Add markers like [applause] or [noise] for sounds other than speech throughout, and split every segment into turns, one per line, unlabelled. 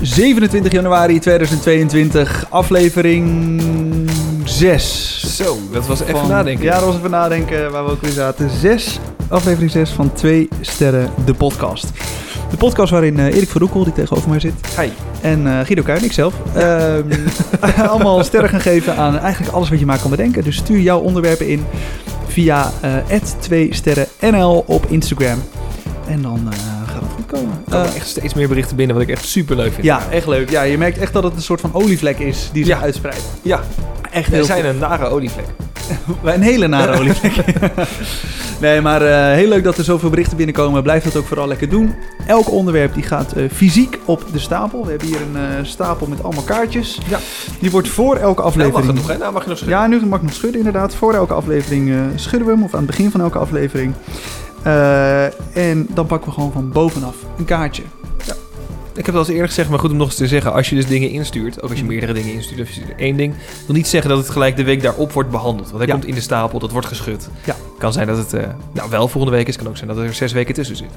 27 januari 2022, aflevering 6.
Zo, dat was even
Van-
nadenken.
Ja, dat was even nadenken waar we ook weer zaten. 6, aflevering 6 van 2 Sterren, de podcast. De podcast waarin eh, Erik van Roekel, die tegenover mij zit,
Hi.
en eh Guido Kuin, ikzelf, ehm, [laughs] allemaal sterren gaan geven aan eigenlijk alles wat je maar kan bedenken. Dus stuur jouw onderwerpen in via eh 2 sterrennl op Instagram. En dan eh, gaat het goed komen.
Er komen
Eh,
echt steeds meer berichten binnen, wat ik echt super leuk vind. Nou,
ja, echt leuk. Ja, je merkt echt dat het een soort van olievlek is die zich
Ja.
uitspreidt.
Ja,
Echt
er
heel
zijn een nare olievlek.
Wij een hele
[laughs]
nare olievlek. [laughs] nee, maar eh, heel leuk dat er zoveel berichten binnenkomen. Blijf dat ook vooral lekker doen. Elk onderwerp die gaat eh, fysiek op de stapel. We hebben hier een eh, stapel met allemaal kaartjes.
Ja.
Die wordt voor elke
Nou mag
aflevering...
het nog, hè? Nou mag je nog schudden.
ja, nu mag ik nog schudden inderdaad. Voor elke aflevering eh, schudden we hem. Of aan het begin van elke aflevering. Eh, en dan pakken we gewoon van bovenaf een kaartje.
Ik heb het al eens eerder gezegd, maar goed om nog eens te zeggen. Als je dus dingen instuurt, ook
Mm.
als je meerdere dingen instuurt, of je stuurt één ding, wil niet zeggen dat het gelijk de week daarop wordt behandeld. Want hij
Ja.
komt in de stapel, dat wordt geschud.
Ja.
Kan zijn dat het eh, nou, wel volgende week is, kan ook zijn dat er zes weken tussen zit.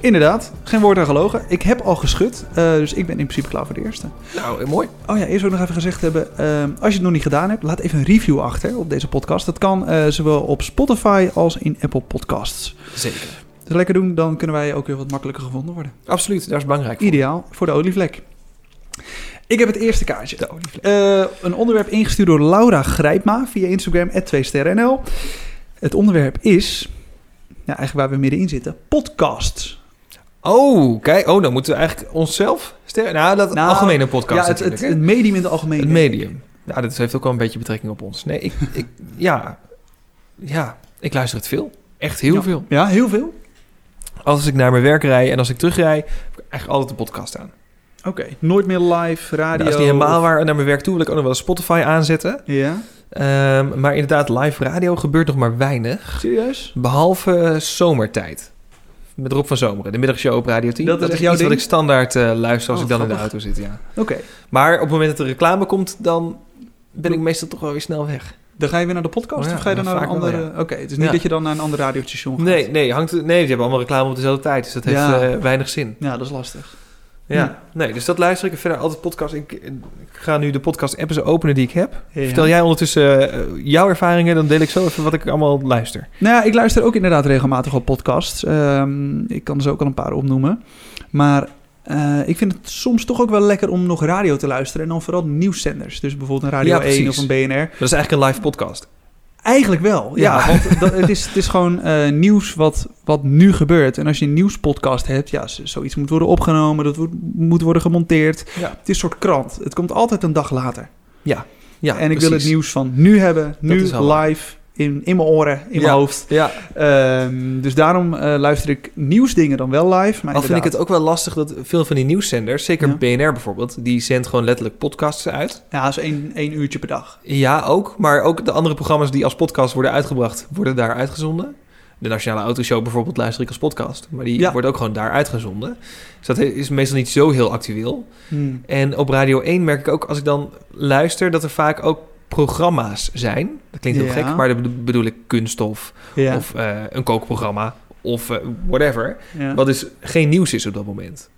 Inderdaad, geen woord aan gelogen. Ik heb al geschud, eh, dus ik ben in principe klaar voor de eerste.
Nou, eh, mooi.
Oh ja, eerst ook nog even gezegd hebben. ehm, als je het nog niet gedaan hebt, laat even een review achter op deze podcast. Dat kan eh, zowel op Spotify als in Apple Podcasts.
Zeker.
Dus lekker doen, dan kunnen wij ook weer wat makkelijker gevonden worden.
Absoluut, daar is belangrijk voor.
Ideaal voor de olievlek. Ik heb het eerste kaartje.
De olievlek.
Eh, een onderwerp ingestuurd door Laura Grijpma via Instagram, 2sterrenNL. Het onderwerp is, ja, eigenlijk waar we middenin zitten, podcasts.
Oh, kijk. Oh, dan moeten we eigenlijk onszelf sterren. Nou, dat
Nou,
algemene podcast
ja, het, het,
natuurlijk, hè?
het medium in het algemeen.
Het medium. Nou, dat heeft ook wel een beetje betrekking op ons. Nee, ik, ik, ja, ja, ik luister het veel. Echt heel
Ja.
veel.
Ja, heel veel.
Als ik naar mijn werk rijd en als ik terugrij, heb ik eigenlijk altijd een podcast aan.
Oké, nooit meer live,
Nou,
radio.
dat is niet helemaal waar. Naar mijn werk toe wil ik ook nog wel Spotify aanzetten.
Ja,
Ehm, maar inderdaad, live radio gebeurt nog maar weinig.
serieus?
Behalve eh, zomertijd. Met Rob van Zomeren, de middagshow op Radio 10.
Dat is
echt
jouw
iets
ding?
wat ik standaard eh, luister als
Oh,
ik dan in de
grappig.
auto zit, ja.
Oké,
Maar op het moment dat er reclame komt, dan ben ik meestal toch wel weer snel weg.
dan ga je weer naar de podcast
Oh ja,
of ga je dan
ja,
naar een
vaak wel,
andere... Oké, het is niet
Ja.
dat je dan naar een ander radiostation gaat.
Nee, nee, hangt, nee, die hebben allemaal reclame op dezelfde tijd. Dus dat heeft
Ja.
eh, weinig zin.
Ja, dat is lastig.
Ja.
Ja.
Nee, dus dat luister ik. En Verder altijd podcast. Ik, ik ga nu de podcast app eens openen die ik heb.
Ja.
Vertel jij ondertussen eh, jouw ervaringen. Dan deel ik zo even wat ik allemaal luister.
Nou ja, ik luister ook inderdaad regelmatig op podcasts. Ehm, ik kan er zo ook al een paar opnoemen. Maar eh, ik vind het soms toch ook wel lekker om nog radio te luisteren. En dan vooral nieuwszenders. Dus bijvoorbeeld een Radio
Ja,
1 of
precies.
een BNR.
Dat is eigenlijk een live podcast.
Eigenlijk wel, ja.
Ja.
Want dat, het, is, het is gewoon eh, nieuws wat, wat nu gebeurt. En als je een nieuwspodcast hebt, ja, z- zoiets moet worden opgenomen. Dat wordt- moet worden gemonteerd.
Ja.
Het is een soort krant. Het komt altijd een dag later.
Ja,
en ik wil het
precies.
nieuws van nu hebben, nu
is handig.
live, in, in mijn oren, in mijn
Ja.
hoofd.
Ja,
Ehm, dus daarom eh, luister ik nieuwsdingen dan wel live. Maar
al vind ik
inderdaad-
het ook wel lastig dat veel van die nieuwszenders, zeker
Ja.
BNR bijvoorbeeld, die zendt gewoon letterlijk podcasts uit.
Ja, dat is één, één uurtje per dag.
Ja, ook. Maar ook de andere programma's die als podcast worden uitgebracht, worden daar uitgezonden. De Nationale Autoshow bijvoorbeeld luister ik als podcast. Maar die
Ja.
wordt ook gewoon daar uitgezonden. Dus dat is meestal niet zo heel actueel.
Hmm.
En op Radio 1 merk ik ook, als ik dan luister, dat er vaak ook programma's zijn. Dat klinkt heel
Ja.
gek, maar dan bedo- bedoel ik kunststof
Ja.
of eh, een kookprogramma of eh, whatever.
ja.
Wat dus geen nieuws is op dat moment.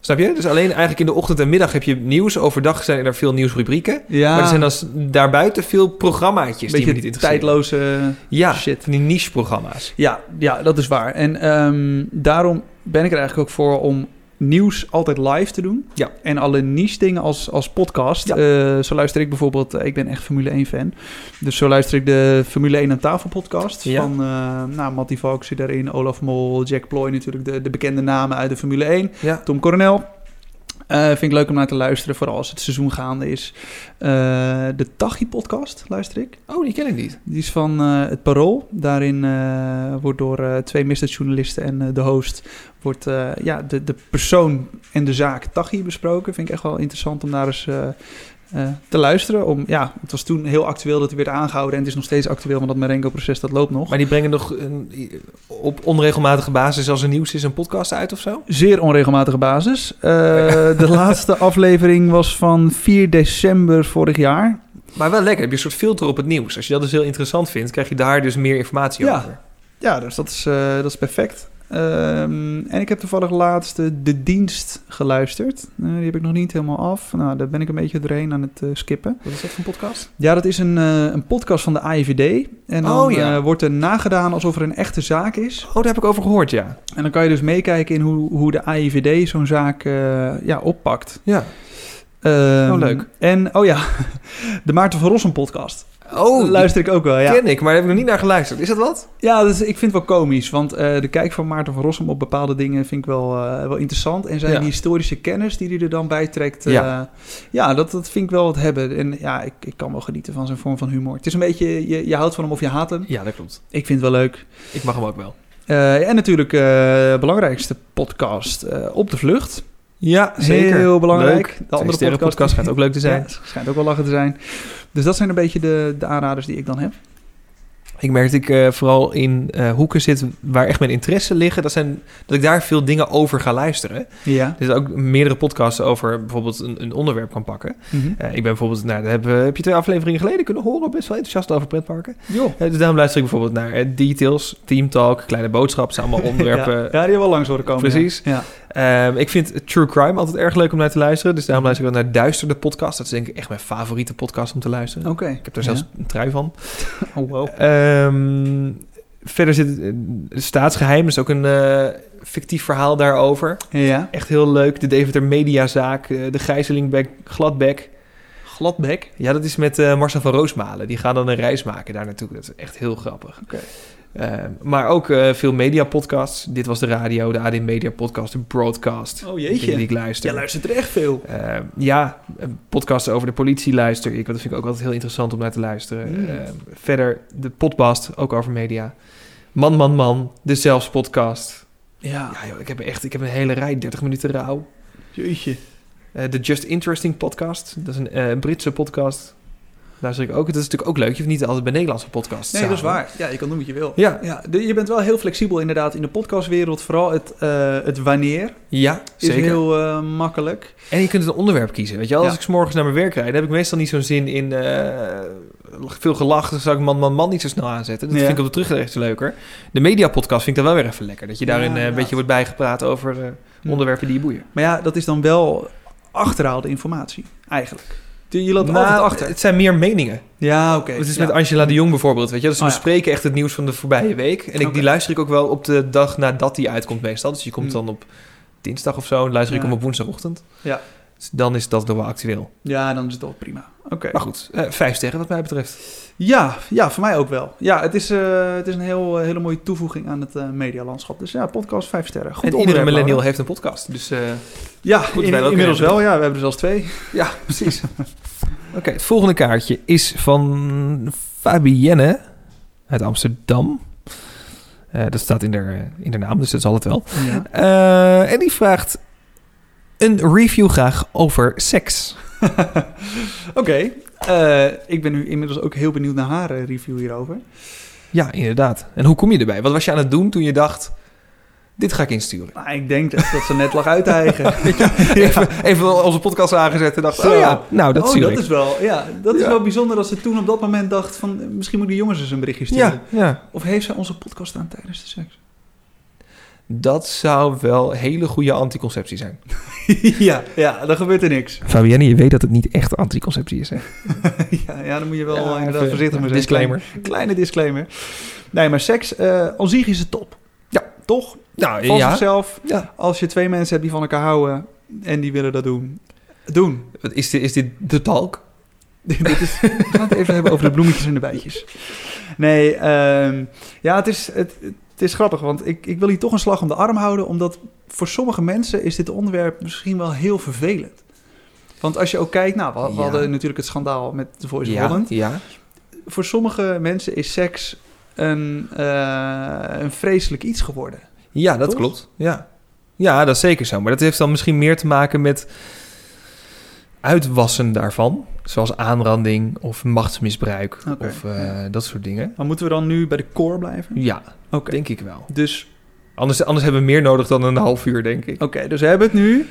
Snap je? Dus alleen eigenlijk in de ochtend en middag heb je nieuws. Overdag zijn er veel nieuwsrubrieken.
ja.
Maar er zijn dan s- daarbuiten veel programmaatjes die me
een
niet
beetje
interesseren.
tijdloze...
Ja,
shit.
van die niche-programma's.
Ja, ja, dat is waar. En ehm, daarom ben ik er eigenlijk ook voor om nieuws altijd live te doen.
Ja.
En alle niche dingen als, als podcast.
Ja.
Eh, zo luister ik bijvoorbeeld, eh, ik ben echt Formule 1 fan. Dus zo luister ik de Formule 1 aan tafel podcast.
Ja.
Van eh nou, Matty Valk zit daarin, Olaf Mol, Jack Ploy natuurlijk. De, de bekende namen uit de Formule 1.
Ja.
Tom Coronel. Eh, vind ik leuk om naar te luisteren, vooral als het seizoen gaande is. Eh, de Tachi podcast luister ik.
Oh, die ken ik niet.
Die is van eh, het Parool. Daarin eh, wordt door eh, twee misdaadjournalisten en eh, de host... wordt eh, ja, de, de persoon en de zaak Tachi besproken. Vind ik echt wel interessant om daar eens eh, eh, te luisteren. Om, ja, het was toen heel actueel dat hij werd aangehouden... en het is nog steeds actueel, want dat Marengo-proces dat loopt nog.
Maar die brengen nog een- op onregelmatige basis als er nieuws is een podcast uit of zo?
Zeer onregelmatige basis. Eh, de laatste aflevering was van 4 december vorig jaar.
Maar wel lekker. Heb je een soort filter op het nieuws. Als je dat dus heel interessant vindt, krijg je daar dus meer informatie
Ja.
over.
Ja, dus dat is, eh, dat is perfect. Eh, Ehm, en ik heb toevallig laatst eh, De Dienst geluisterd. Eh, die heb ik nog niet helemaal af. Nou, daar ben ik een beetje doorheen aan het eh, skippen.
Wat is dat voor een podcast?
Ja, dat is een, eh, een podcast van de AIVD. En dan
Oh, ja.
eh, wordt er nagedaan alsof er een echte zaak is.
Oh, daar heb ik over gehoord, ja.
En dan kan je dus meekijken in hoe, hoe de AIVD zo'n zaak eh, ja, oppakt.
Ja.
Ehm,
Oh, leuk.
En, oh ja, [laughs] de Maarten van Rossum podcast.
Oh, luister.
luister ik ook wel, ja.
Ken ik, maar daar heb ik nog niet naar geluisterd. Is dat wat?
Ja, dus ik vind het wel komisch. Want eh, de kijk van Maarten van Rossum op bepaalde dingen vind ik wel, eh, wel interessant. En zijn
Ja.
historische kennis die hij er dan bij trekt. eh, ja, dat, dat vind ik wel wat hebben. En ja, ik, ik kan wel genieten van zijn vorm van humor. Het is een beetje, je, je houdt van hem of je haat hem.
Ja, dat klopt.
Ik vind het wel leuk.
Ik mag hem ook wel.
Eh, en natuurlijk eh, de belangrijkste podcast, eh, Op de Vlucht.
Ja,
Heel belangrijk.
Leuk.
De andere podcast,
podcast gaat ook leuk te zijn.
[laughs] Ja, schijnt ook wel lachen te zijn. Dus dat zijn een beetje de, de aanraders die ik dan heb.
Ik merk dat ik eh, vooral in eh, hoeken zit waar echt mijn interesse liggen. Dat, zijn, dat ik daar veel dingen over ga luisteren.
Ja.
Er zijn ook meerdere podcasts over bijvoorbeeld een, een onderwerp kan pakken.
Mhm.
Eh, ik ben bijvoorbeeld, nou, daar heb, heb je twee afleveringen geleden kunnen horen, best wel enthousiast over pretparken.
Joh.
Eh, dus daarom luister ik bijvoorbeeld naar eh, Details, Team Talk, Kleine Boodschap, zijn allemaal onderwerpen.
Ja, ja, die hebben we al langs horen komen. ja.
Precies.
Ja.
Ehm, ik vind True Crime altijd erg leuk om naar te luisteren. Dus daarom luister ik wel naar Duister, de podcast. Dat is denk ik echt mijn favoriete podcast om te luisteren.
Oké.
Ik heb daar zelfs een trui van.
Oh, wow.
Ehm, verder zit eh, Staatsgeheim, is ook een eh, fictief verhaal daarover.
Ja.
Echt heel leuk. De Deventer Mediazaak, eh, de gijzeling bij Gladbeck.
Gladbek.
Ja, dat is met eh, Marcel van Roosmalen. Die gaan dan een reis maken daar naartoe. Dat is echt heel grappig.
Oké.
Ehm, maar ook eh, veel mediapodcasts. Dit was de radio, de AD Media Podcast, de Broadcast.
Oh, jeetje.
Die ik luister.
Jij luistert er echt veel.
Ehm, ja, een podcast over de politie luister ik. Dat vind ik ook altijd heel interessant om naar te luisteren.
Mm.
Ehm, verder de podcast, ook over media. Man, man, man. De Zelfs podcast.
Ja.
Ja, joh, ik heb echt ik heb een hele rij. 30 minuten rauw.
Jeetje.
Eh, de Just Interesting podcast. Dat is een eh, Britse podcast. Luister ik ook. Dat is natuurlijk ook leuk. Je hoeft niet altijd bij Nederlandse podcasts
Nee,
te
dat is
houden.
waar. Ja, je kan doen wat je wil.
Ja,
Ja, de- je bent wel heel flexibel inderdaad in de podcastwereld. Vooral het, eh, het wanneer
ja
is
zeker.
heel eh, makkelijk.
En je kunt een onderwerp kiezen. Weet je, wel? als
Ja.
ik ik 's morgens naar mijn werk rijd, dan heb ik meestal niet zo'n zin in eh, veel gelach. Dan zou ik man, man, man niet zo snel aanzetten. Dat
Ja.
vind ik op de terugweg echt leuker. De mediapodcast vind ik dan wel weer even lekker. Dat je
Ja,
daarin eh, een
inderdaad.
beetje wordt bijgepraat over eh,
Hm.
onderwerpen die je boeien.
Maar ja, dat is dan wel achterhaalde informatie, eigenlijk. Je je loopt
Nou,
altijd achter.
Het zijn meer meningen.
Ja, oké.
Het is
Ja.
met Angela de Jong bijvoorbeeld. Weet je? Dus we
Oh, ja.
bespreken echt het nieuws van de voorbije week. En ik,
Oké.
die luister ik ook wel op de dag nadat die uitkomt meestal. Dus je komt
Hm.
dan op dinsdag of zo. En luister ik
Ja.
hem op woensdagochtend.
Ja.
Dus dan is dat nog wel actueel.
Ja, dan is het wel prima. Oké.
Maar goed, eh, vijf sterren wat mij betreft.
Ja, ja, voor mij ook wel. Ja, het is, eh, het is een heel, eh, hele mooie toevoeging aan het eh, medialandschap. Dus ja, podcast 5 sterren. Goed
en iedere
onderwerp,
millennial
Laura.
heeft
[laughs]
een podcast. Dus eh,
Ja,
Goed,
in-
wij ook
inmiddels
hebben.
wel. Ja, we hebben er zelfs twee.
ja, precies. [laughs] Oké, het volgende kaartje is van Fabienne uit Amsterdam. Eh, dat staat in haar, eh, in haar naam, dus dat zal het wel.
Ja.
Eh, en die vraagt een review graag over seks.
[laughs] Oké, eh, ik ben nu inmiddels ook heel benieuwd naar haar eh, review hierover.
Ja, inderdaad. En hoe kom je erbij? Wat was je aan het doen toen je dacht, dit ga ik
[laughs]
insturen? Eh,
Nou, ik denk dat, dat ze net lag uit te
[laughs]
eigen.
Even, even onze podcast aangezet en dacht,
Zo.
oh ja, nou dat
oh,
zie
dat
ik.
is wel, ja, dat is
Ja.
wel bijzonder dat ze toen op dat moment dacht van eh, misschien moet die jongens eens een berichtje sturen.
ja, ja.
Of heeft ze onze podcast aan tijdens de
[laughs]
seks?
Dat zou wel hele goede anticonceptie zijn.
ja, ja, dan gebeurt er
[laughs]
niks.
Fabienne, je weet dat het niet echt anticonceptie is, hè?
ja, ja, dan moet je wel eh, inderdaad
even
voorzichtig mee zijn.
Disclaimer.
Kleine, kleine disclaimer. Nee, maar seks, eh aan zich is het top.
Ja.
Toch?
Nou,
Van
ja.
zichzelf.
ja.
Als je twee mensen hebt die van elkaar houden en die willen dat doen, doen.
Wat Is, dit, is dit de talk?
Dit is, [laughs] we gaan het even hebben over de bloemetjes en de bijtjes. Nee, ehm, ja, het is, het, het is grappig, want ik, ik wil hier toch een slag om de arm houden, omdat voor sommige mensen is dit onderwerp misschien wel heel vervelend. Want als je ook kijkt, nou, we, we
Ja.
hadden natuurlijk het schandaal met The Voice of
ja,
Holland.
ja.
Voor sommige mensen is seks een, eh, een vreselijk iets geworden.
ja, dat
Toch?
klopt. Ja. ja, dat is zeker zo. Maar dat heeft dan misschien meer te maken met uitwassen daarvan. Zoals aanranding of machtsmisbruik
Oké,
of eh,
ja.
dat soort dingen.
Maar moeten we dan nu bij de core blijven?
Ja,
Oké.
denk ik wel.
Dus,
Anders, anders hebben we meer nodig dan een half uur, denk ik.
oké, dus we hebben het nu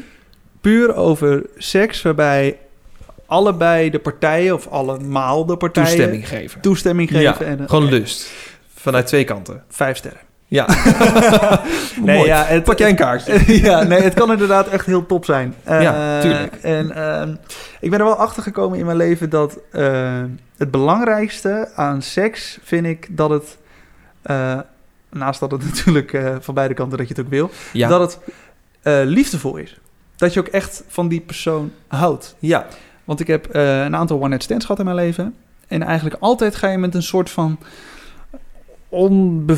puur over seks waarbij allebei de partijen of allemaal de partijen
Toestemming geven.
toestemming
Ja,
geven. en, eh,
Gewoon
oké,
lust. Vanuit twee kanten. [laughs]
Vijf sterren.
Ja.
Nee,
Mooi.
ja, het-
Pak jij een kaartje.
[laughs] ja, nee, het kan inderdaad echt heel top zijn. Eh,
Ja, tuurlijk.
En ehm, ik ben er wel achter gekomen in mijn leven dat eh, het belangrijkste aan seks vind ik dat het, eh, naast dat het [laughs] natuurlijk eh, van beide kanten dat je het ook wil,
Ja.
dat het eh, liefdevol is. Dat je ook echt van die persoon houdt.
ja.
Want ik heb eh, een aantal one-night stands gehad in mijn leven. En eigenlijk altijd ga je met een soort van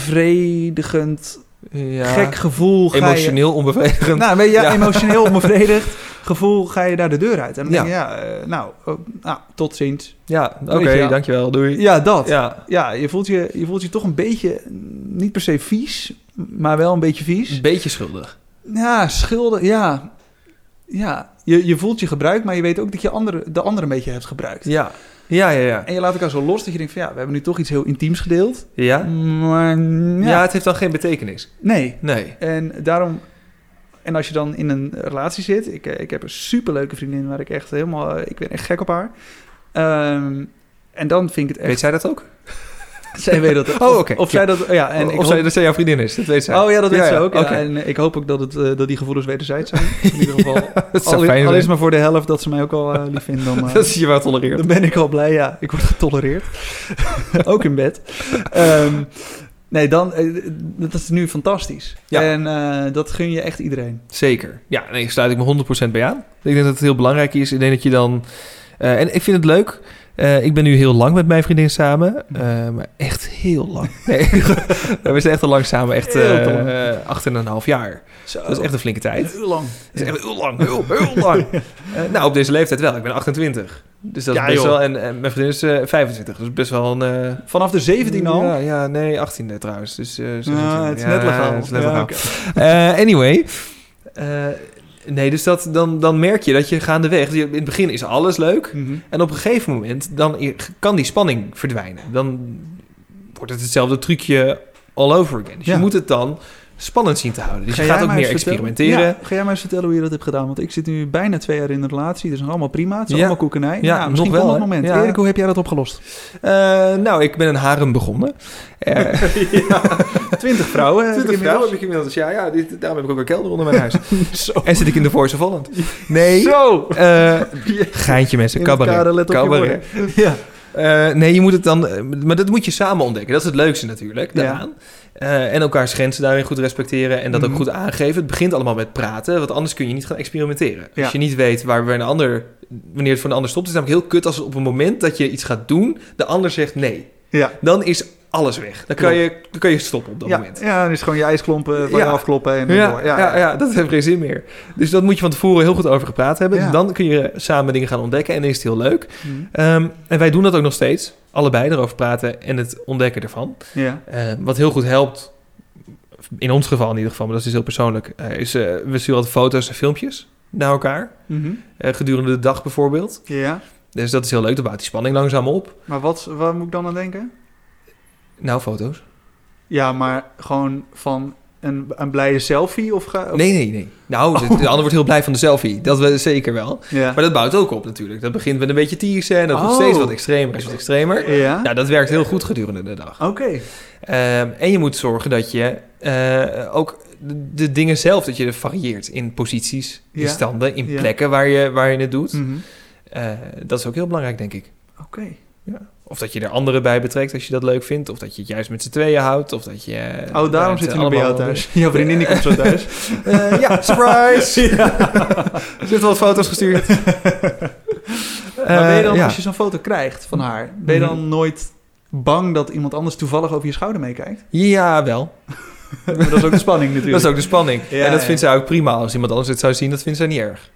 onbevredigend,
ja.
gek gevoel. ga je-
Emotioneel onbevredigend.
nou, weet je,
Ja. [laughs]
emotioneel onbevredigd gevoel ga je daar de deur uit. En dan
Ja.
denk je, ja, eh, nou, oh, nou, tot ziens.
ja, oké,
Weet je wel.
dankjewel. Doei.
Ja, dat. Ja,
Ja.
je, voelt je, je voelt je toch een beetje, mm, niet per se vies, maar wel een beetje vies.
Een beetje schuldig.
Ja, schulden, ja. Ja, je, je voelt je gebruikt, maar je weet ook dat je andere, de ander een beetje hebt gebruikt.
Ja. Ja, ja, ja.
En je laat elkaar zo los dat je denkt van ja, we hebben nu toch iets heel intiems gedeeld.
Ja?
Maar ja,
Ja, het heeft dan geen betekenis.
nee.
Nee.
En daarom, en als je dan in een relatie zit, ik, eh, ik heb een superleuke vriendin waar ik echt helemaal, eh, ik ben echt gek op haar. Ehm, en dan vind ik het
Weet
echt.
zij dat ook?
zij weet [laughs] dat.
Oh,
of-
oké.
Of zij dat. Ja, en
of
ik
zij, dat zij jouw vriendin is, dat weet zij.
Oh ja, dat weet
Ja,
ze
ja,
ook. Ja.
oké.
En eh, ik hoop ook dat, het, eh, dat die gevoelens wederzijds [laughs] zijn. In ieder geval.
[laughs] dat
al,
zou fijn
al
zijn.
is maar voor de helft dat ze mij ook al eh, lief [laughs] vindt. Dan, eh,
Dat is je wel tolereert.
dan ben ik al blij, ja. Ik word getolereerd. [laughs] ook in bed. Ehm, nee, dan, eh, dat is nu fantastisch.
Ja.
En eh, dat gun je echt iedereen.
Zeker. Ja, nee, daar sluit ik me 100% bij aan. Ik denk dat het heel belangrijk is. Ik denk dat je dan. eh, en ik vind het leuk. Eh, ik ben nu heel lang met mijn vriendin samen.
Mm.
Eh, maar echt heel lang. Nee, [laughs] we zijn echt al lang samen. Echt
Heel
eh,
lang.
eh, acht en een half jaar.
Zo.
Dat is echt een flinke tijd.
heel lang.
Dat is echt heel lang. Heel, heel
[laughs]
lang. Eh, nou, op deze leeftijd wel. Ik ben 28. Dus dat
Ja,
is best
joh.
wel. En, en mijn vriendin is eh, 25. Dus best wel een. eh,
Vanaf de 17 al?
Ja, ja, nee, 18 trouwens. Dus, eh, 17.
Ah, het is
Ja,
net legaal.
het is net legaal.
Ja, oké.
Eh, anyway. Eh, nee, dus dat, dan, dan merk je dat je gaandeweg... je- In het begin is alles leuk.
Mhm.
En op een gegeven moment dan i- kan die spanning verdwijnen. Dan wordt het hetzelfde trucje all over again. Dus
Ja.
je moet het dan spannend zien te houden. Dus
Ga
je
jij
gaat ook
mij
meer
eens vertellen-
experimenteren.
Ja, ga jij mij eens vertellen hoe je dat hebt gedaan? Want ik zit nu bijna twee jaar in een relatie, dus allemaal prima. Het is
Ja.
allemaal koekenij. Ja,
Ja,
misschien
nog
komt
wel,
dat
hè?
moment.
Ja.
Erik, hoe heb jij dat opgelost?
Eh, nou, ik ben een harem begonnen. Eh,
Twintig vrouwen. heb ik
Twintig
inmiddels.
[laughs] vrouwen heb ik inmiddels. Ja, ja dit, daarom heb ik ook een kelder onder mijn [laughs] huis. En zit ik in de Voice of Holland. Nee.
Zo!
eh, [laughs] geintje mensen,
In het
cabaret.
kader, let op je
cabaret.
woorden. Ja.
Eh, nee, je moet het dan... eh, Maar dat moet je samen ontdekken. Dat is het leukste natuurlijk,
Ja.
daaraan. Eh, en elkaars grenzen daarin goed respecteren en dat
Mhm.
ook goed aangeven. Het begint allemaal met praten, want anders kun je niet gaan experimenteren.
Ja.
Als je niet weet waar we een ander... Wanneer het voor een ander stopt, is het namelijk heel kut als het op een moment dat je iets gaat doen, de ander zegt nee.
Ja.
Dan is alles weg. Dan kan,
Klopt.
je, dan kan je stoppen op dat
ja,
moment.
ja, dan is het gewoon je ijsklompen van
Ja.
je afkloppen en
Ja,
door.
ja, ja. dat heeft geen zin meer. Dus dat moet je van tevoren heel goed over gepraat hebben.
Ja.
Dan kun je samen dingen gaan ontdekken en dan is het heel leuk.
Mhm.
Ehm, en wij doen dat ook nog steeds. Allebei erover praten en het ontdekken ervan.
ja.
Eh, wat heel goed helpt, in ons geval in ieder geval, maar dat is dus heel persoonlijk, eh, is eh, we sturen altijd foto's en filmpjes naar elkaar.
Mhm.
Eh, gedurende de dag bijvoorbeeld.
ja.
Dus dat is heel leuk, dan bouwt die spanning langzaam op.
Maar wat, waar moet ik dan aan denken?
Nou, foto's.
Ja, maar gewoon van een, een blije selfie of... Ga, of-
Nee, nee, nee. Nou, de, de ander wordt heel blij van de selfie. Dat we, zeker wel.
Ja.
Maar dat bouwt ook op natuurlijk. Dat begint met een beetje teasen en dat wordt
Oh.
steeds wat extremer is wat extremer.
Ja?
Nou, dat werkt heel goed gedurende de dag.
Oké.
Ehm, en je moet zorgen dat je eh, ook de, de dingen zelf, dat je er varieert in posities, in
Ja.
standen, in
Ja.
plekken waar je, waar je het doet.
Mhm.
Eh, dat is ook heel belangrijk, denk ik.
Oké.
Of dat je er anderen bij betrekt als je dat leuk vindt. Of dat je het juist met z'n tweeën houdt. Of dat je...
Oh, daarom
het
zit je nu bij jou
allemaal-
thuis. Jouw vriendin die komt zo
[laughs]
thuis.
Eh,
[laughs]
ja, surprise! Ze heeft wat foto's gestuurd.
maar ben je dan,
Eh, ja. Mhm.
als je zo'n foto krijgt van haar, ben je dan nooit bang dat iemand anders toevallig over je schouder meekijkt? [laughs]
Ja, wel.
Maar dat is ook de spanning natuurlijk.
Dat is ook de spanning.
Ja,
en dat
ja.
vindt zij ook prima. Als iemand anders het zou zien, dat vindt zij niet erg.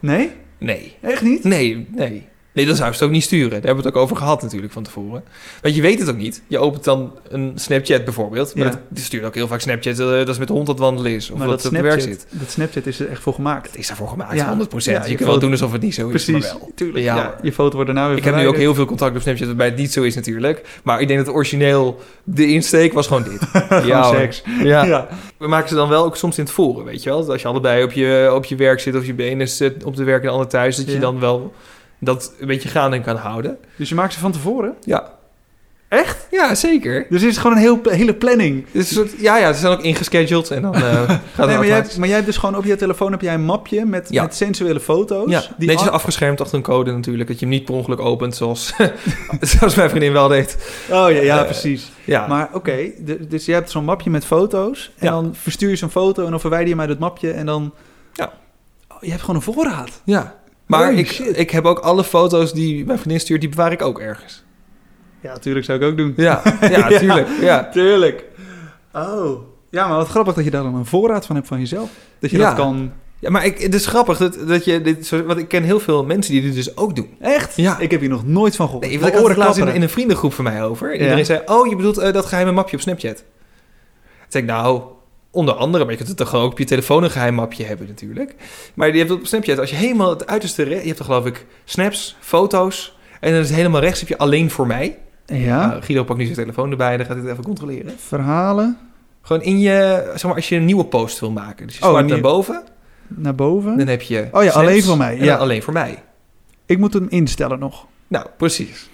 Nee?
Nee.
Echt niet?
Nee, nee. Nee, dat zou ze ook niet sturen. Daar hebben we het ook over gehad natuurlijk van tevoren. Want je weet het ook niet. Je opent dan een Snapchat bijvoorbeeld. Maar
Ja.
dat, die stuurt ook heel vaak Snapchat eh, dat ze met de hond aan het wandelen is. Of
maar
dat
dat
ze op het werk
Snapchat,
zit.
dat Snapchat is er echt voor gemaakt.
Het is daarvoor gemaakt,
Ja.
100%.
Ja,
je
je
kunt wel
foto-
doen alsof het niet zo is,
Precies.
maar wel.
Tuurlijk.
Ja.
Ja. Je foto wordt daarna weer
Ik heb nu ook
verwijderd.
heel veel contact op Snapchat waarbij het niet zo is natuurlijk. Maar ik denk dat origineel de insteek was gewoon
[laughs]
dit.
Gewoon
hoor.
seks.
Ja.
Ja.
We maken ze dan wel ook soms in het voren, weet je wel? Dat als je allebei op je, op je werk zit of je benen zit op de werk en de ander thuis, dat je
Ja.
dan wel dat een beetje gaande kan houden.
Dus je maakt ze van tevoren?
Ja. Echt? Ja, zeker.
Dus dit is gewoon een heel, hele planning.
Dit is een soort, ja, ja, ze zijn ook ingescheduled en
[laughs]
dan eh, gaat het
nee, maar, jij, hebt-
automatisch.
maar jij hebt dus gewoon op je telefoon heb jij een mapje met,
Ja.
met sensuele foto's.
Ja,
dus die
netjes
al-
afgeschermd achter een code natuurlijk, dat je hem niet per ongeluk opent, zoals, [laughs] zoals mijn vriendin wel deed.
Oh ja, ja
Eh,
precies.
Ja,
Maar oké, de- dus jij hebt zo'n mapje met foto's. En
Ja.
dan verstuur je zo'n foto en dan verwijder je mij dat mapje. En dan...
Ja.
Oh, je hebt gewoon een voorraad.
ja. maar
Holy
ik,
shit.
ik heb ook alle foto's die mijn vriendin stuurt, die bewaar ik ook ergens.
Ja, natuurlijk zou ik ook doen.
Ja, ja,
[laughs] Ja.
tuurlijk. Ja.
Tuurlijk. Oh. Ja, maar wat grappig dat je daar dan een voorraad van hebt van jezelf. Dat je
Ja.
dat kan...
Ja, maar ik, het is grappig dat, dat je dit soort... Want ik ken heel veel mensen die dit dus ook doen.
Echt?
Ja.
Ik heb hier nog nooit van gehoord.
Nee, want
Mijn
ik had het
oren
laatst in, in
klapperen.
een vriendengroep van mij over. En
Ja.
iedereen zei, oh, je bedoelt eh, dat geheime mapje op Snapchat. Toen zei ik, nou, onder andere. Maar je kunt het toch ook op je telefoon een geheim mapje hebben natuurlijk. Maar je hebt op Snapchat, als je helemaal het uiterste... re- Je hebt dan geloof ik snaps, foto's. En dan is het helemaal rechts heb je alleen voor mij.
Ja.
Nou, Guido pakt nu zijn telefoon erbij, dan gaat hij het even controleren.
Verhalen
Gewoon in je, zeg maar, als je een nieuwe post wil maken. Dus je
Oh,
swipe
een
naar
nieuw-
boven,
naar boven.
dan heb je
Oh ja,
snaps
alleen voor mij,
en dan
ja.
alleen voor mij.
Ik moet hem instellen nog.
Nou, precies.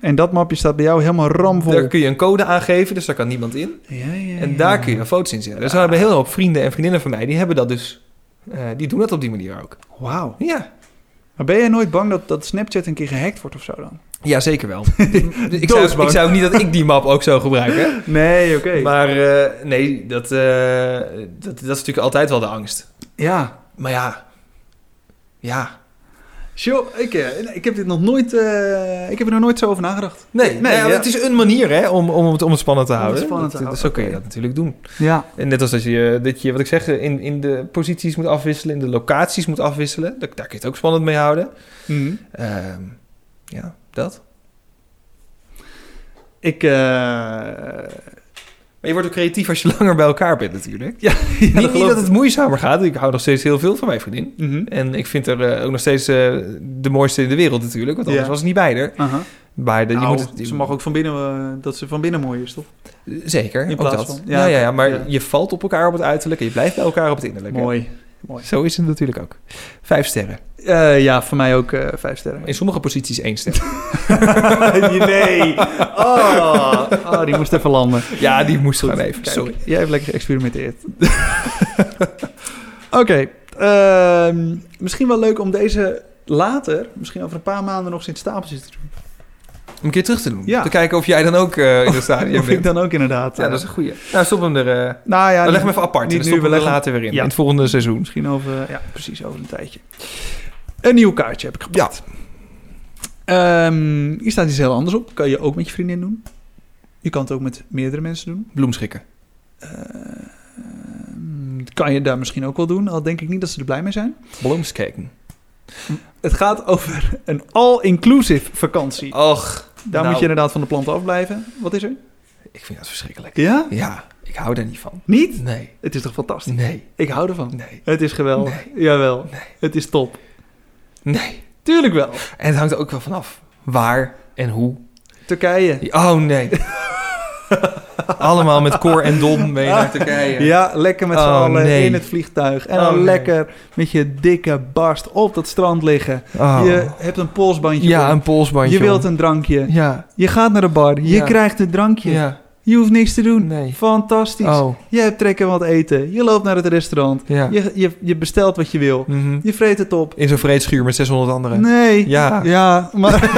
En dat mapje staat bij jou helemaal ramvol.
Daar kun je een code aangeven, dus daar kan niemand in.
Ja, ja,
En
ja.
daar kun je dan foto's in zetten. Dus er hebben een hele hoop vrienden en vriendinnen van mij, die hebben dat dus. eh, die doen dat op die manier ook.
Wauw.
Ja,
Maar ben jij nooit bang dat, dat Snapchat een keer gehackt wordt of zo dan?
ja zeker [laughs] wel. ik, zou,
Doodsbang.
ik zou ook niet dat ik die map ook zou gebruiken.
Nee, oké.
Maar eh, nee, dat, eh, dat, dat is natuurlijk altijd wel de angst.
Ja.
Maar ja, ja.
Sjo, ik, eh, ik heb dit nog nooit... eh, ik heb er nog nooit zo over nagedacht.
Nee,
Nee,
nou ja,
ja.
Het is een manier hè, om, om, het, om het spannend te
Om het
houden.
spannend te
Dat-
houden,
Zo kun je
oké.
dat natuurlijk doen.
Ja.
En net als dat je, dat je wat ik zeg, in, in de posities moet afwisselen, in de locaties moet afwisselen. Daar, daar kun je het ook spannend mee houden.
Mhm.
Ehm, ja, dat.
Ik... eh, [laughs] ja,
Maar je wordt ook creatief als je [laughs] langer bij elkaar bent natuurlijk.
dat
niet, niet
geloof
dat
ik.
het moeizamer gaat. Ik hou nog steeds heel veel van mijn vriendin.
Mhm.
En ik vind haar eh, ook nog steeds eh, de mooiste in de wereld natuurlijk. Want anders
Ja.
was het niet bij haar.
Aha.
Maar de- je
Nou,
moet, het-
ze mag ook van binnen... eh, dat ze van binnen mooi is, toch?
Zeker,
in
ook
plaats
dat.
van-
Ja,
ja,
ja, ja, maar
ja.
je valt op elkaar op het uiterlijk en je blijft bij elkaar op het innerlijk. hè?
Mooi.
Zo is het natuurlijk ook. Vijf sterren.
Eh, ja, voor mij ook eh, vijf [laughs] sterren.
In sommige posities één ster.
[laughs] nee. Oh. oh, die moest even landen.
Ja, die moest gewoon even.
Kijk,
Sorry.
Jij hebt lekker geëxperimenteerd. [laughs] Oké. ehm, misschien wel leuk om deze later, misschien over een paar maanden nog eens in het stapeltje te doen.
Om een keer terug te doen.
Ja.
Te kijken of jij dan ook eh, in het stadion
Of ik
bent.
dan ook inderdaad.
Ja,
eh,
dat is een goeie. Nou, stop hem er. eh
nou ja,
we leggen hem even apart.
niet
en dan
nu,
stoppen
we
we er
leggen-
later weer in.
Ja.
In het volgende seizoen.
Misschien over, eh, ja, precies over een tijdje. Een nieuw kaartje heb ik gepakt. Ja. hier staat iets heel anders op. Kan je ook met je vriendin doen. Je kan het ook met meerdere mensen doen.
Bloemschikken.
Ehm, kan je daar misschien ook wel doen, al denk ik niet dat ze er blij mee zijn.
Bloemschikken.
Het gaat over een all-inclusive vakantie.
Och,
Daar
nou,
moet je inderdaad van de planten afblijven. Wat is er?
Ik vind dat verschrikkelijk.
Ja?
Ja, ik hou daar niet van.
Niet?
Nee,
Het is toch fantastisch?
nee,
Ik hou ervan.
nee,
Het is geweldig. Jawel. Het is top.
nee.
Tuurlijk wel.
En het hangt er ook wel vanaf waar en hoe.
Turkije.
Oh
[laughs]
nee. Allemaal met koor en dom mee naar Turkije.
Ja, lekker met z'n
Oh,
allen
nee.
in het vliegtuig. En
Oh,
dan
nee.
lekker met je dikke barst op dat strand liggen.
Oh.
Je hebt een polsbandje
ja,
om.
een polsbandje.
Je wilt
om.
een drankje.
Ja,
Je gaat naar de bar. Je
Ja.
krijgt een drankje.
ja.
Je hoeft niks te doen.
Nee.
Fantastisch.
Oh,
Je hebt trekken wat eten. Je loopt naar het restaurant.
ja.
Je, je, je bestelt wat je wil.
Mhm.
Je vreet het op.
In zo'n vreedschuur met 600 anderen.
Nee.
Ja.
Ja, [laughs] maar,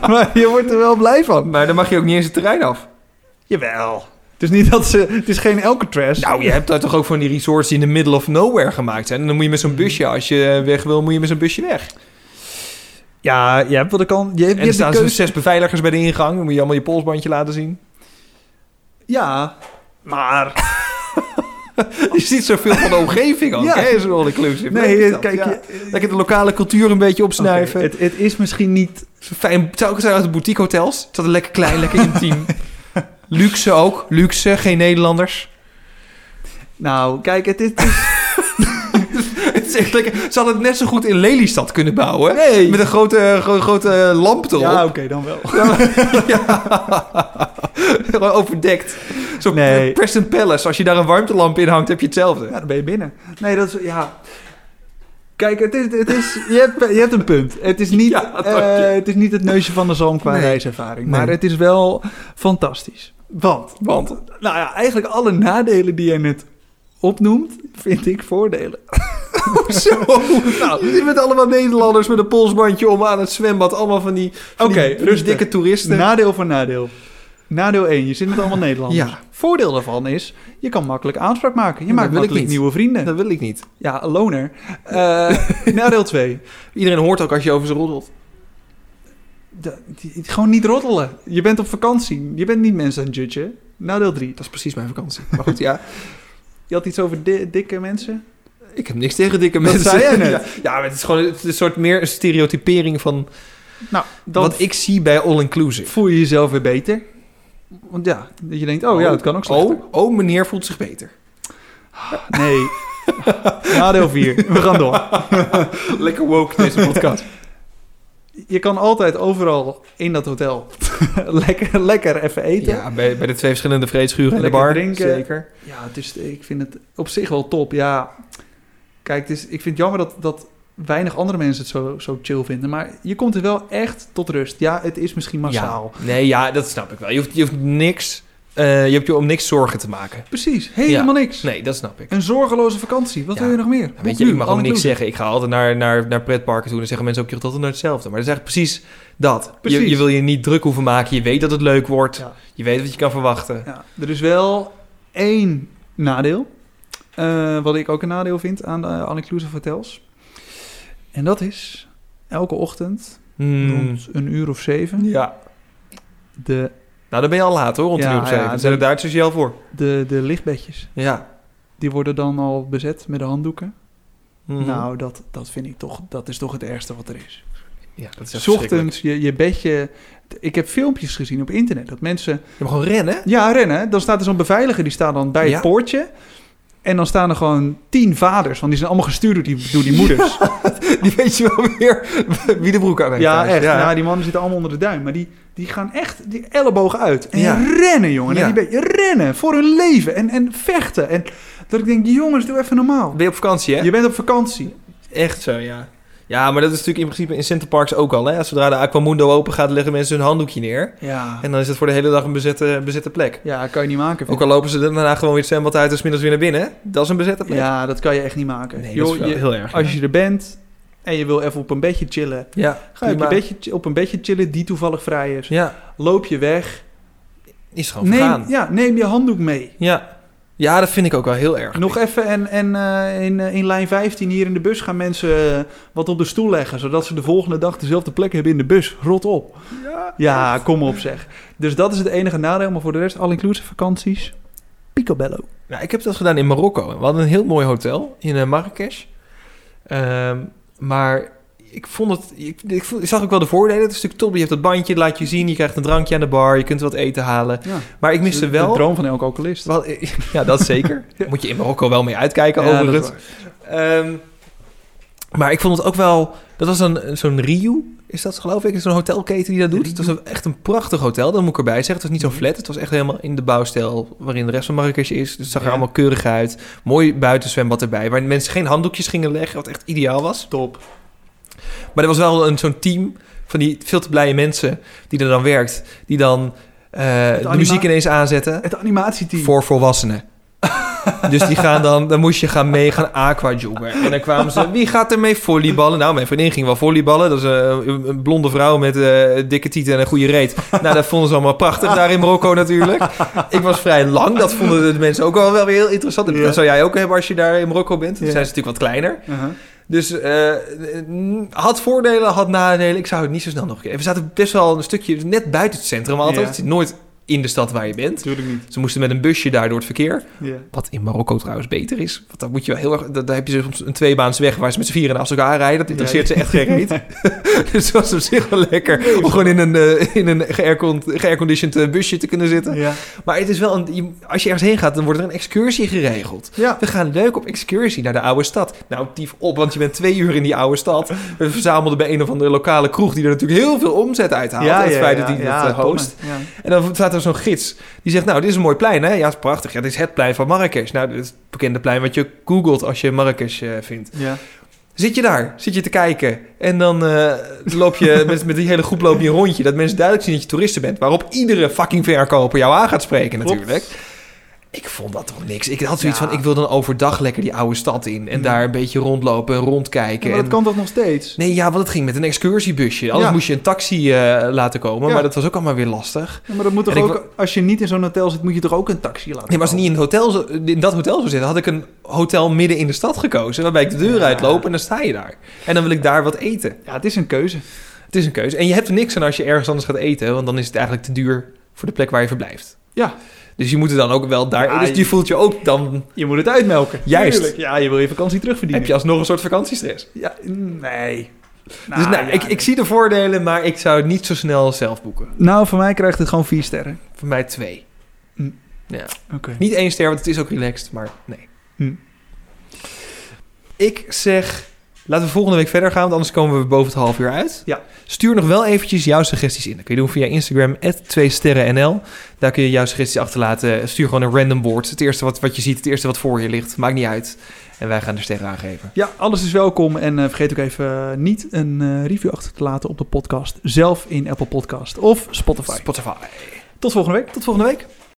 maar je wordt er wel blij van.
Maar dan mag je ook niet eens het terrein af.
Jawel. Het is niet dat ze... Het is geen Alcatraz.
Nou, je hebt daar toch ook van die resorts die in the middle of nowhere gemaakt zijn. En dan moet je met zo'n busje, als je eh, weg wil, moet je met zo'n busje weg.
Ja, je hebt wel de kans. Je hebt,
En
je
er
hebt de
staan zo'n
keuze.
zes beveiligers bij de ingang. Dan moet je allemaal je polsbandje laten zien. [laughs]
Ja, maar...
Je ziet zoveel van de omgeving ook.
Ja.
hè, Zo'n all-inclusive.
Nee,
Leuk is dat,
kijk...
ja.
je-
Lekker de lokale cultuur een beetje
Oké,
opsnuiven.
het, het is misschien niet...
Zo'n Fijn, het zou ook zijn uit de boutique hotels. Het zat lekker klein, lekker [laughs] intiem. luxe ook. Luxe, geen Nederlanders.
Nou, kijk, het is... het is-
[laughs] Het is echt lekker. Ze hadden het net zo goed in Lelystad kunnen bouwen.
Nee.
Met een grote, gro- grote lamp erop.
ja, oké, dan
[laughs]
wel.
Ja, [laughs] gewoon overdekt. Zo'n
Nee.
Preston Palace, als je daar een warmtelamp in hangt, heb je hetzelfde.
Ja, dan ben je binnen. Nee, dat is... Ja... Kijk, het is, het is, je, hebt, je hebt een punt. Het is niet,
[laughs] Ja, dank je.
eh, het, is niet het neusje van de zalm qua
Nee.
reiservaring.
Nee.
Maar het is wel fantastisch. Want,
Want?
nou ja, eigenlijk alle nadelen die jij net opnoemt, vind ik
[laughs]
voordelen.
Zo, [laughs] nou, je bent allemaal Nederlanders met een polsbandje om aan het zwembad. Allemaal van die, van die-
Oké,
van die
rustig.
dikke toeristen.
Nadeel voor nadeel. Nadeel 1, je zit met allemaal Nederlanders.
Ja.
Voordeel daarvan is, je kan makkelijk aanspraak maken. Je
Ja, dat
maakt
wil ik
makkelijk
niet.
nieuwe vrienden.
dat wil ik niet.
Ja, loner. Eh, [laughs] nadeel 2,
Iedereen hoort ook als je over ze roddelt.
gewoon niet roddelen. Je bent op vakantie, je bent niet mensen aan het judgen. Nadeel 3,
Dat is precies mijn vakantie. Maar goed, ja.
je had iets over di- dikke mensen.
[laughs] Ik heb niks tegen dikke
Dat
mensen.
zei jij net.
[laughs] Ja, ja, maar het is gewoon het is een soort meer een stereotypering van
Nou, dan
wat ik zie bij All Inclusive.
voel je jezelf weer beter. Want ja, dat je denkt, oh, ja, het kan ook slechter.
Oh, oh, meneer voelt zich beter.
Nee. Nadeel 4, we gaan door.
[laughs] Lekker woke deze podcast.
Je kan altijd overal in dat hotel [laughs] lekker, lekker even eten.
ja, bij, bij de twee verschillende vreedschuren in de
Lekker
bar.
drinken.
Zeker.
Ja, het is, ik vind het op zich wel top. Ja, kijk, het is, ik vind het jammer dat, dat weinig andere mensen het zo, zo chill vinden. Maar je komt er wel echt tot rust. Ja, het is misschien massaal.
Ja. Nee, ja, dat snap ik wel. Je hoeft, je hoeft niks... eh, je hebt je om niks zorgen te maken.
Precies, helemaal niks.
Nee, dat snap ik.
Een zorgeloze vakantie. Wat
Ja.
wil je nog meer?
Ja,
Boek
weet je,
nu,
ik mag
all
ook niks
inclusive.
zeggen. Ik ga altijd naar, naar, naar pretparken toe en dan zeggen mensen ook, je gaat altijd naar hetzelfde. Maar dat is eigenlijk precies dat. Je,
Precies.
je wil je niet druk hoeven maken. Je weet dat het leuk wordt.
Ja.
Je weet wat je kan verwachten.
Ja, er is wel één nadeel. eh, wat ik ook een nadeel vind aan eh, all-inclusive hotels. En dat is elke ochtend
Hmm.
rond een uur of zeven
Ja.
de,
Nou, dan ben je al laat hoor, rond
Ja,
een uur of
ja,
zeven. Daar
dan-
zijn de Duitsers je al voor.
de, de lichtbedjes.
Ja.
Die worden dan al bezet met de handdoeken.
Mhm.
Nou, dat, dat vind ik toch, dat is toch het ergste wat er is.
ja, dat is echt verschrikkelijk.
Ochtends, je, je bedje. Ik heb filmpjes gezien op internet dat mensen.
Je mag gewoon rennen. hè?
Ja, rennen. Dan staat er zo'n beveiliger, die staat dan bij
Ja.
het poortje. En dan staan er gewoon tien vaders, want die zijn allemaal gestuurd door die, door die
[laughs]
moeders. Ja, [laughs]
Die weet je wel weer [laughs] wie de broek aan heeft. thuis.
echt. Nou, Ja.
Ja.
die mannen zitten allemaal onder de duim. Maar die, die gaan echt die ellebogen uit. En
Ja.
rennen, jongen.
Ja.
En die beetje rennen voor hun leven. En, en vechten. En dat ik denk, jongens, doe even normaal.
Ben je op vakantie, hè?
Je bent op vakantie.
Echt zo, ja. Ja, maar dat is natuurlijk in principe in Center Parks ook al. Hè? Zodra de Aquamundo open gaat, leggen mensen hun handdoekje neer.
Ja,
En dan is het voor de hele dag een bezette, bezette plek.
ja kan je niet maken. vind ik.
Ook al lopen ze daarna gewoon weer het zwembad uit en smiddags weer naar binnen. Dat is een bezette plek.
Ja, dat kan je echt niet maken.
nee,
Joh,
dat is wel
je-
heel erg.
als je er bent en je wil even op een bedje chillen,
ja,
ga je op,
maar-
een bedje, chi- op een bedje chillen die toevallig vrij is.
ja,
Loop je weg.
is gewoon
Neem,
vergaan.
ja, neem je handdoek mee.
Ja. ja, dat vind ik ook wel heel erg.
Nog even en, en eh, in, eh, in lijn 15 hier in de bus gaan mensen eh, wat op de stoel leggen, zodat ze de volgende dag dezelfde plek hebben in de bus. Rot op.
Ja.
Ja, kom op zeg. Dus dat is het enige nadeel, maar voor de rest all-inclusive vakanties. Picobello.
Nou, ik heb dat gedaan in Marokko. We hadden een heel mooi hotel in eh, Marrakesh. Ehm, maar ik vond het... Ik, ik, vond- ik zag ook wel de voordelen. Het is natuurlijk top. Je hebt dat bandje, laat je zien. Je krijgt een drankje aan de bar. Je kunt wat eten halen.
Ja.
Maar ik miste
De- De
wel...
droom van elke alcoholist.
wel- [laughs] ja, dat
[laughs]
zeker. Daar Moet je in Marokko wel mee uitkijken
Ja, dat is
overigens. Ehm, maar ik vond het ook wel... Dat was een, zo'n Ryu, is dat geloof ik? Zo'n hotelketen die dat doet. Het was een- echt een prachtig hotel, dat moet ik erbij zeggen. Het was niet zo'n flat, het was echt helemaal in de bouwstijl... waarin de rest van Marrakesh is. Dus het zag er
Ja.
allemaal keurig uit. Mooi buitenzwembad erbij. Waar mensen geen handdoekjes gingen leggen, wat echt ideaal was.
Top.
Maar er was wel een, zo'n team van die veel te blije mensen... die er dan werkt, die dan eh, de
anima-
muziek ineens aanzetten...
Het animatieteam.
Voor volwassenen. dus die gaan dan, dan moest je gaan mee gaan aquajoggen. En dan kwamen ze, wie gaat er mee volleyballen? Nou, mijn vriendin ging wel volleyballen. Dat is eh, een, een blonde vrouw met eh, dikke tieten en een goede reet. Nou, dat vonden ze allemaal prachtig daar in Marokko natuurlijk. Ik was vrij lang. Dat vonden de mensen ook wel, wel weer heel interessant. En
Ja.
Dat zou jij ook hebben als je daar in Marokko bent. Dan
Ja.
zijn ze natuurlijk wat kleiner.
Uh-huh.
Dus eh, had voordelen, had nadelen. Ik zou het niet zo snel nog een keer. We zaten best wel een stukje net buiten het centrum altijd.
Ja.
Het zit nooit in de stad waar je bent.
Natuurlijk niet.
Ze moesten met een busje daar door het verkeer.
Ja.
Wat in Marokko trouwens beter is. Want dan moet je wel heel erg. da- Daar heb je soms een tweebaansweg waar ze met z'n vieren naast elkaar rijden. Dat interesseert ze echt geen [laughs] reet. dus het was op zich wel lekker. Om gewoon in een, eh, in een geaircond- geairconditioned eh, busje te kunnen zitten.
Ja.
Maar het is wel een, je- als je ergens heen gaat, dan wordt er een excursie geregeld.
ja.
We gaan leuk op excursie naar de oude stad. Nou, tief op, want je bent twee uur in die oude stad. We verzamelden bij een of andere lokale kroeg die er natuurlijk heel veel omzet uithaalt. Ja, het feit dat die dat eh, host.
Ja.
En dan staat er zo'n gids. Die zegt, nou, dit is een mooi plein, hè? Ja, het is prachtig. Ja, dit is het plein van Marrakesh. Nou, dit is het bekende plein wat je googelt als je Marrakesh eh, vindt.
Ja.
Zit je daar, zit je te kijken en dan eh, loop
[laughs]
je met, met die hele groep loop je een rondje. Dat mensen duidelijk zien dat je toeristen bent. Waarop iedere fucking verkoper jou aan gaat spreken
Klopt.
natuurlijk. Ik vond dat toch niks. Ik had zoiets
Ja.
van, ik wil dan overdag lekker die oude stad in. En
Mm.
daar een beetje rondlopen en rondkijken.
maar
en-
dat kan toch nog steeds?
Nee, ja, want het ging met een excursiebusje. Anders
Ja.
moest je een taxi eh, laten komen.
Ja.
Maar dat was ook allemaal weer lastig.
Ja, maar dat moet toch
En ik
ook, als je niet in zo'n hotel zit, moet je toch ook een taxi laten
Nee, maar als ik
komen?
niet in, het hotel, zo- in dat hotel zou zitten, had ik een hotel midden in de stad gekozen. Waarbij ik de deur
Ja.
uitloop en dan sta je daar. En dan wil ik daar wat eten.
Ja, het is een keuze.
Het is een keuze. En je hebt er niks aan als je ergens anders gaat eten. Want dan is het eigenlijk te duur voor de plek waar je verblijft.
Ja.
Dus je moet er dan ook wel daar.
Ja,
dus je,
je-
voelt je ook dan.
Je moet het uitmelken.
Juist.
Tuurlijk. Ja, je wil je vakantie terugverdienen.
Heb je alsnog een soort vakantiestress.
Ja, nee.
dus nou,
ja,
ik, ik zie de voordelen, maar ik zou het niet zo snel zelf boeken.
Nou, voor mij krijgt het gewoon vier sterren.
Voor mij twee.
Hm. Oké.
Niet één ster, want het is ook relaxed, maar nee.
Hm.
Ik zeg, laten we volgende week verder gaan, want anders komen we boven het half uur uit.
Ja.
Stuur nog wel eventjes jouw suggesties in. Dat kun je doen via Instagram, 2sterrennl. Daar kun je jouw suggesties achterlaten. Stuur gewoon een random board. Het eerste wat, wat je ziet, het eerste wat voor je ligt. Maakt niet uit. En wij gaan er sterren aan geven.
Ja, alles is welkom. En eh, vergeet ook even eh, niet een eh, review achter te laten op de podcast. Zelf in Apple Podcast of Spotify.
Spotify.
Tot volgende week. Tot volgende week.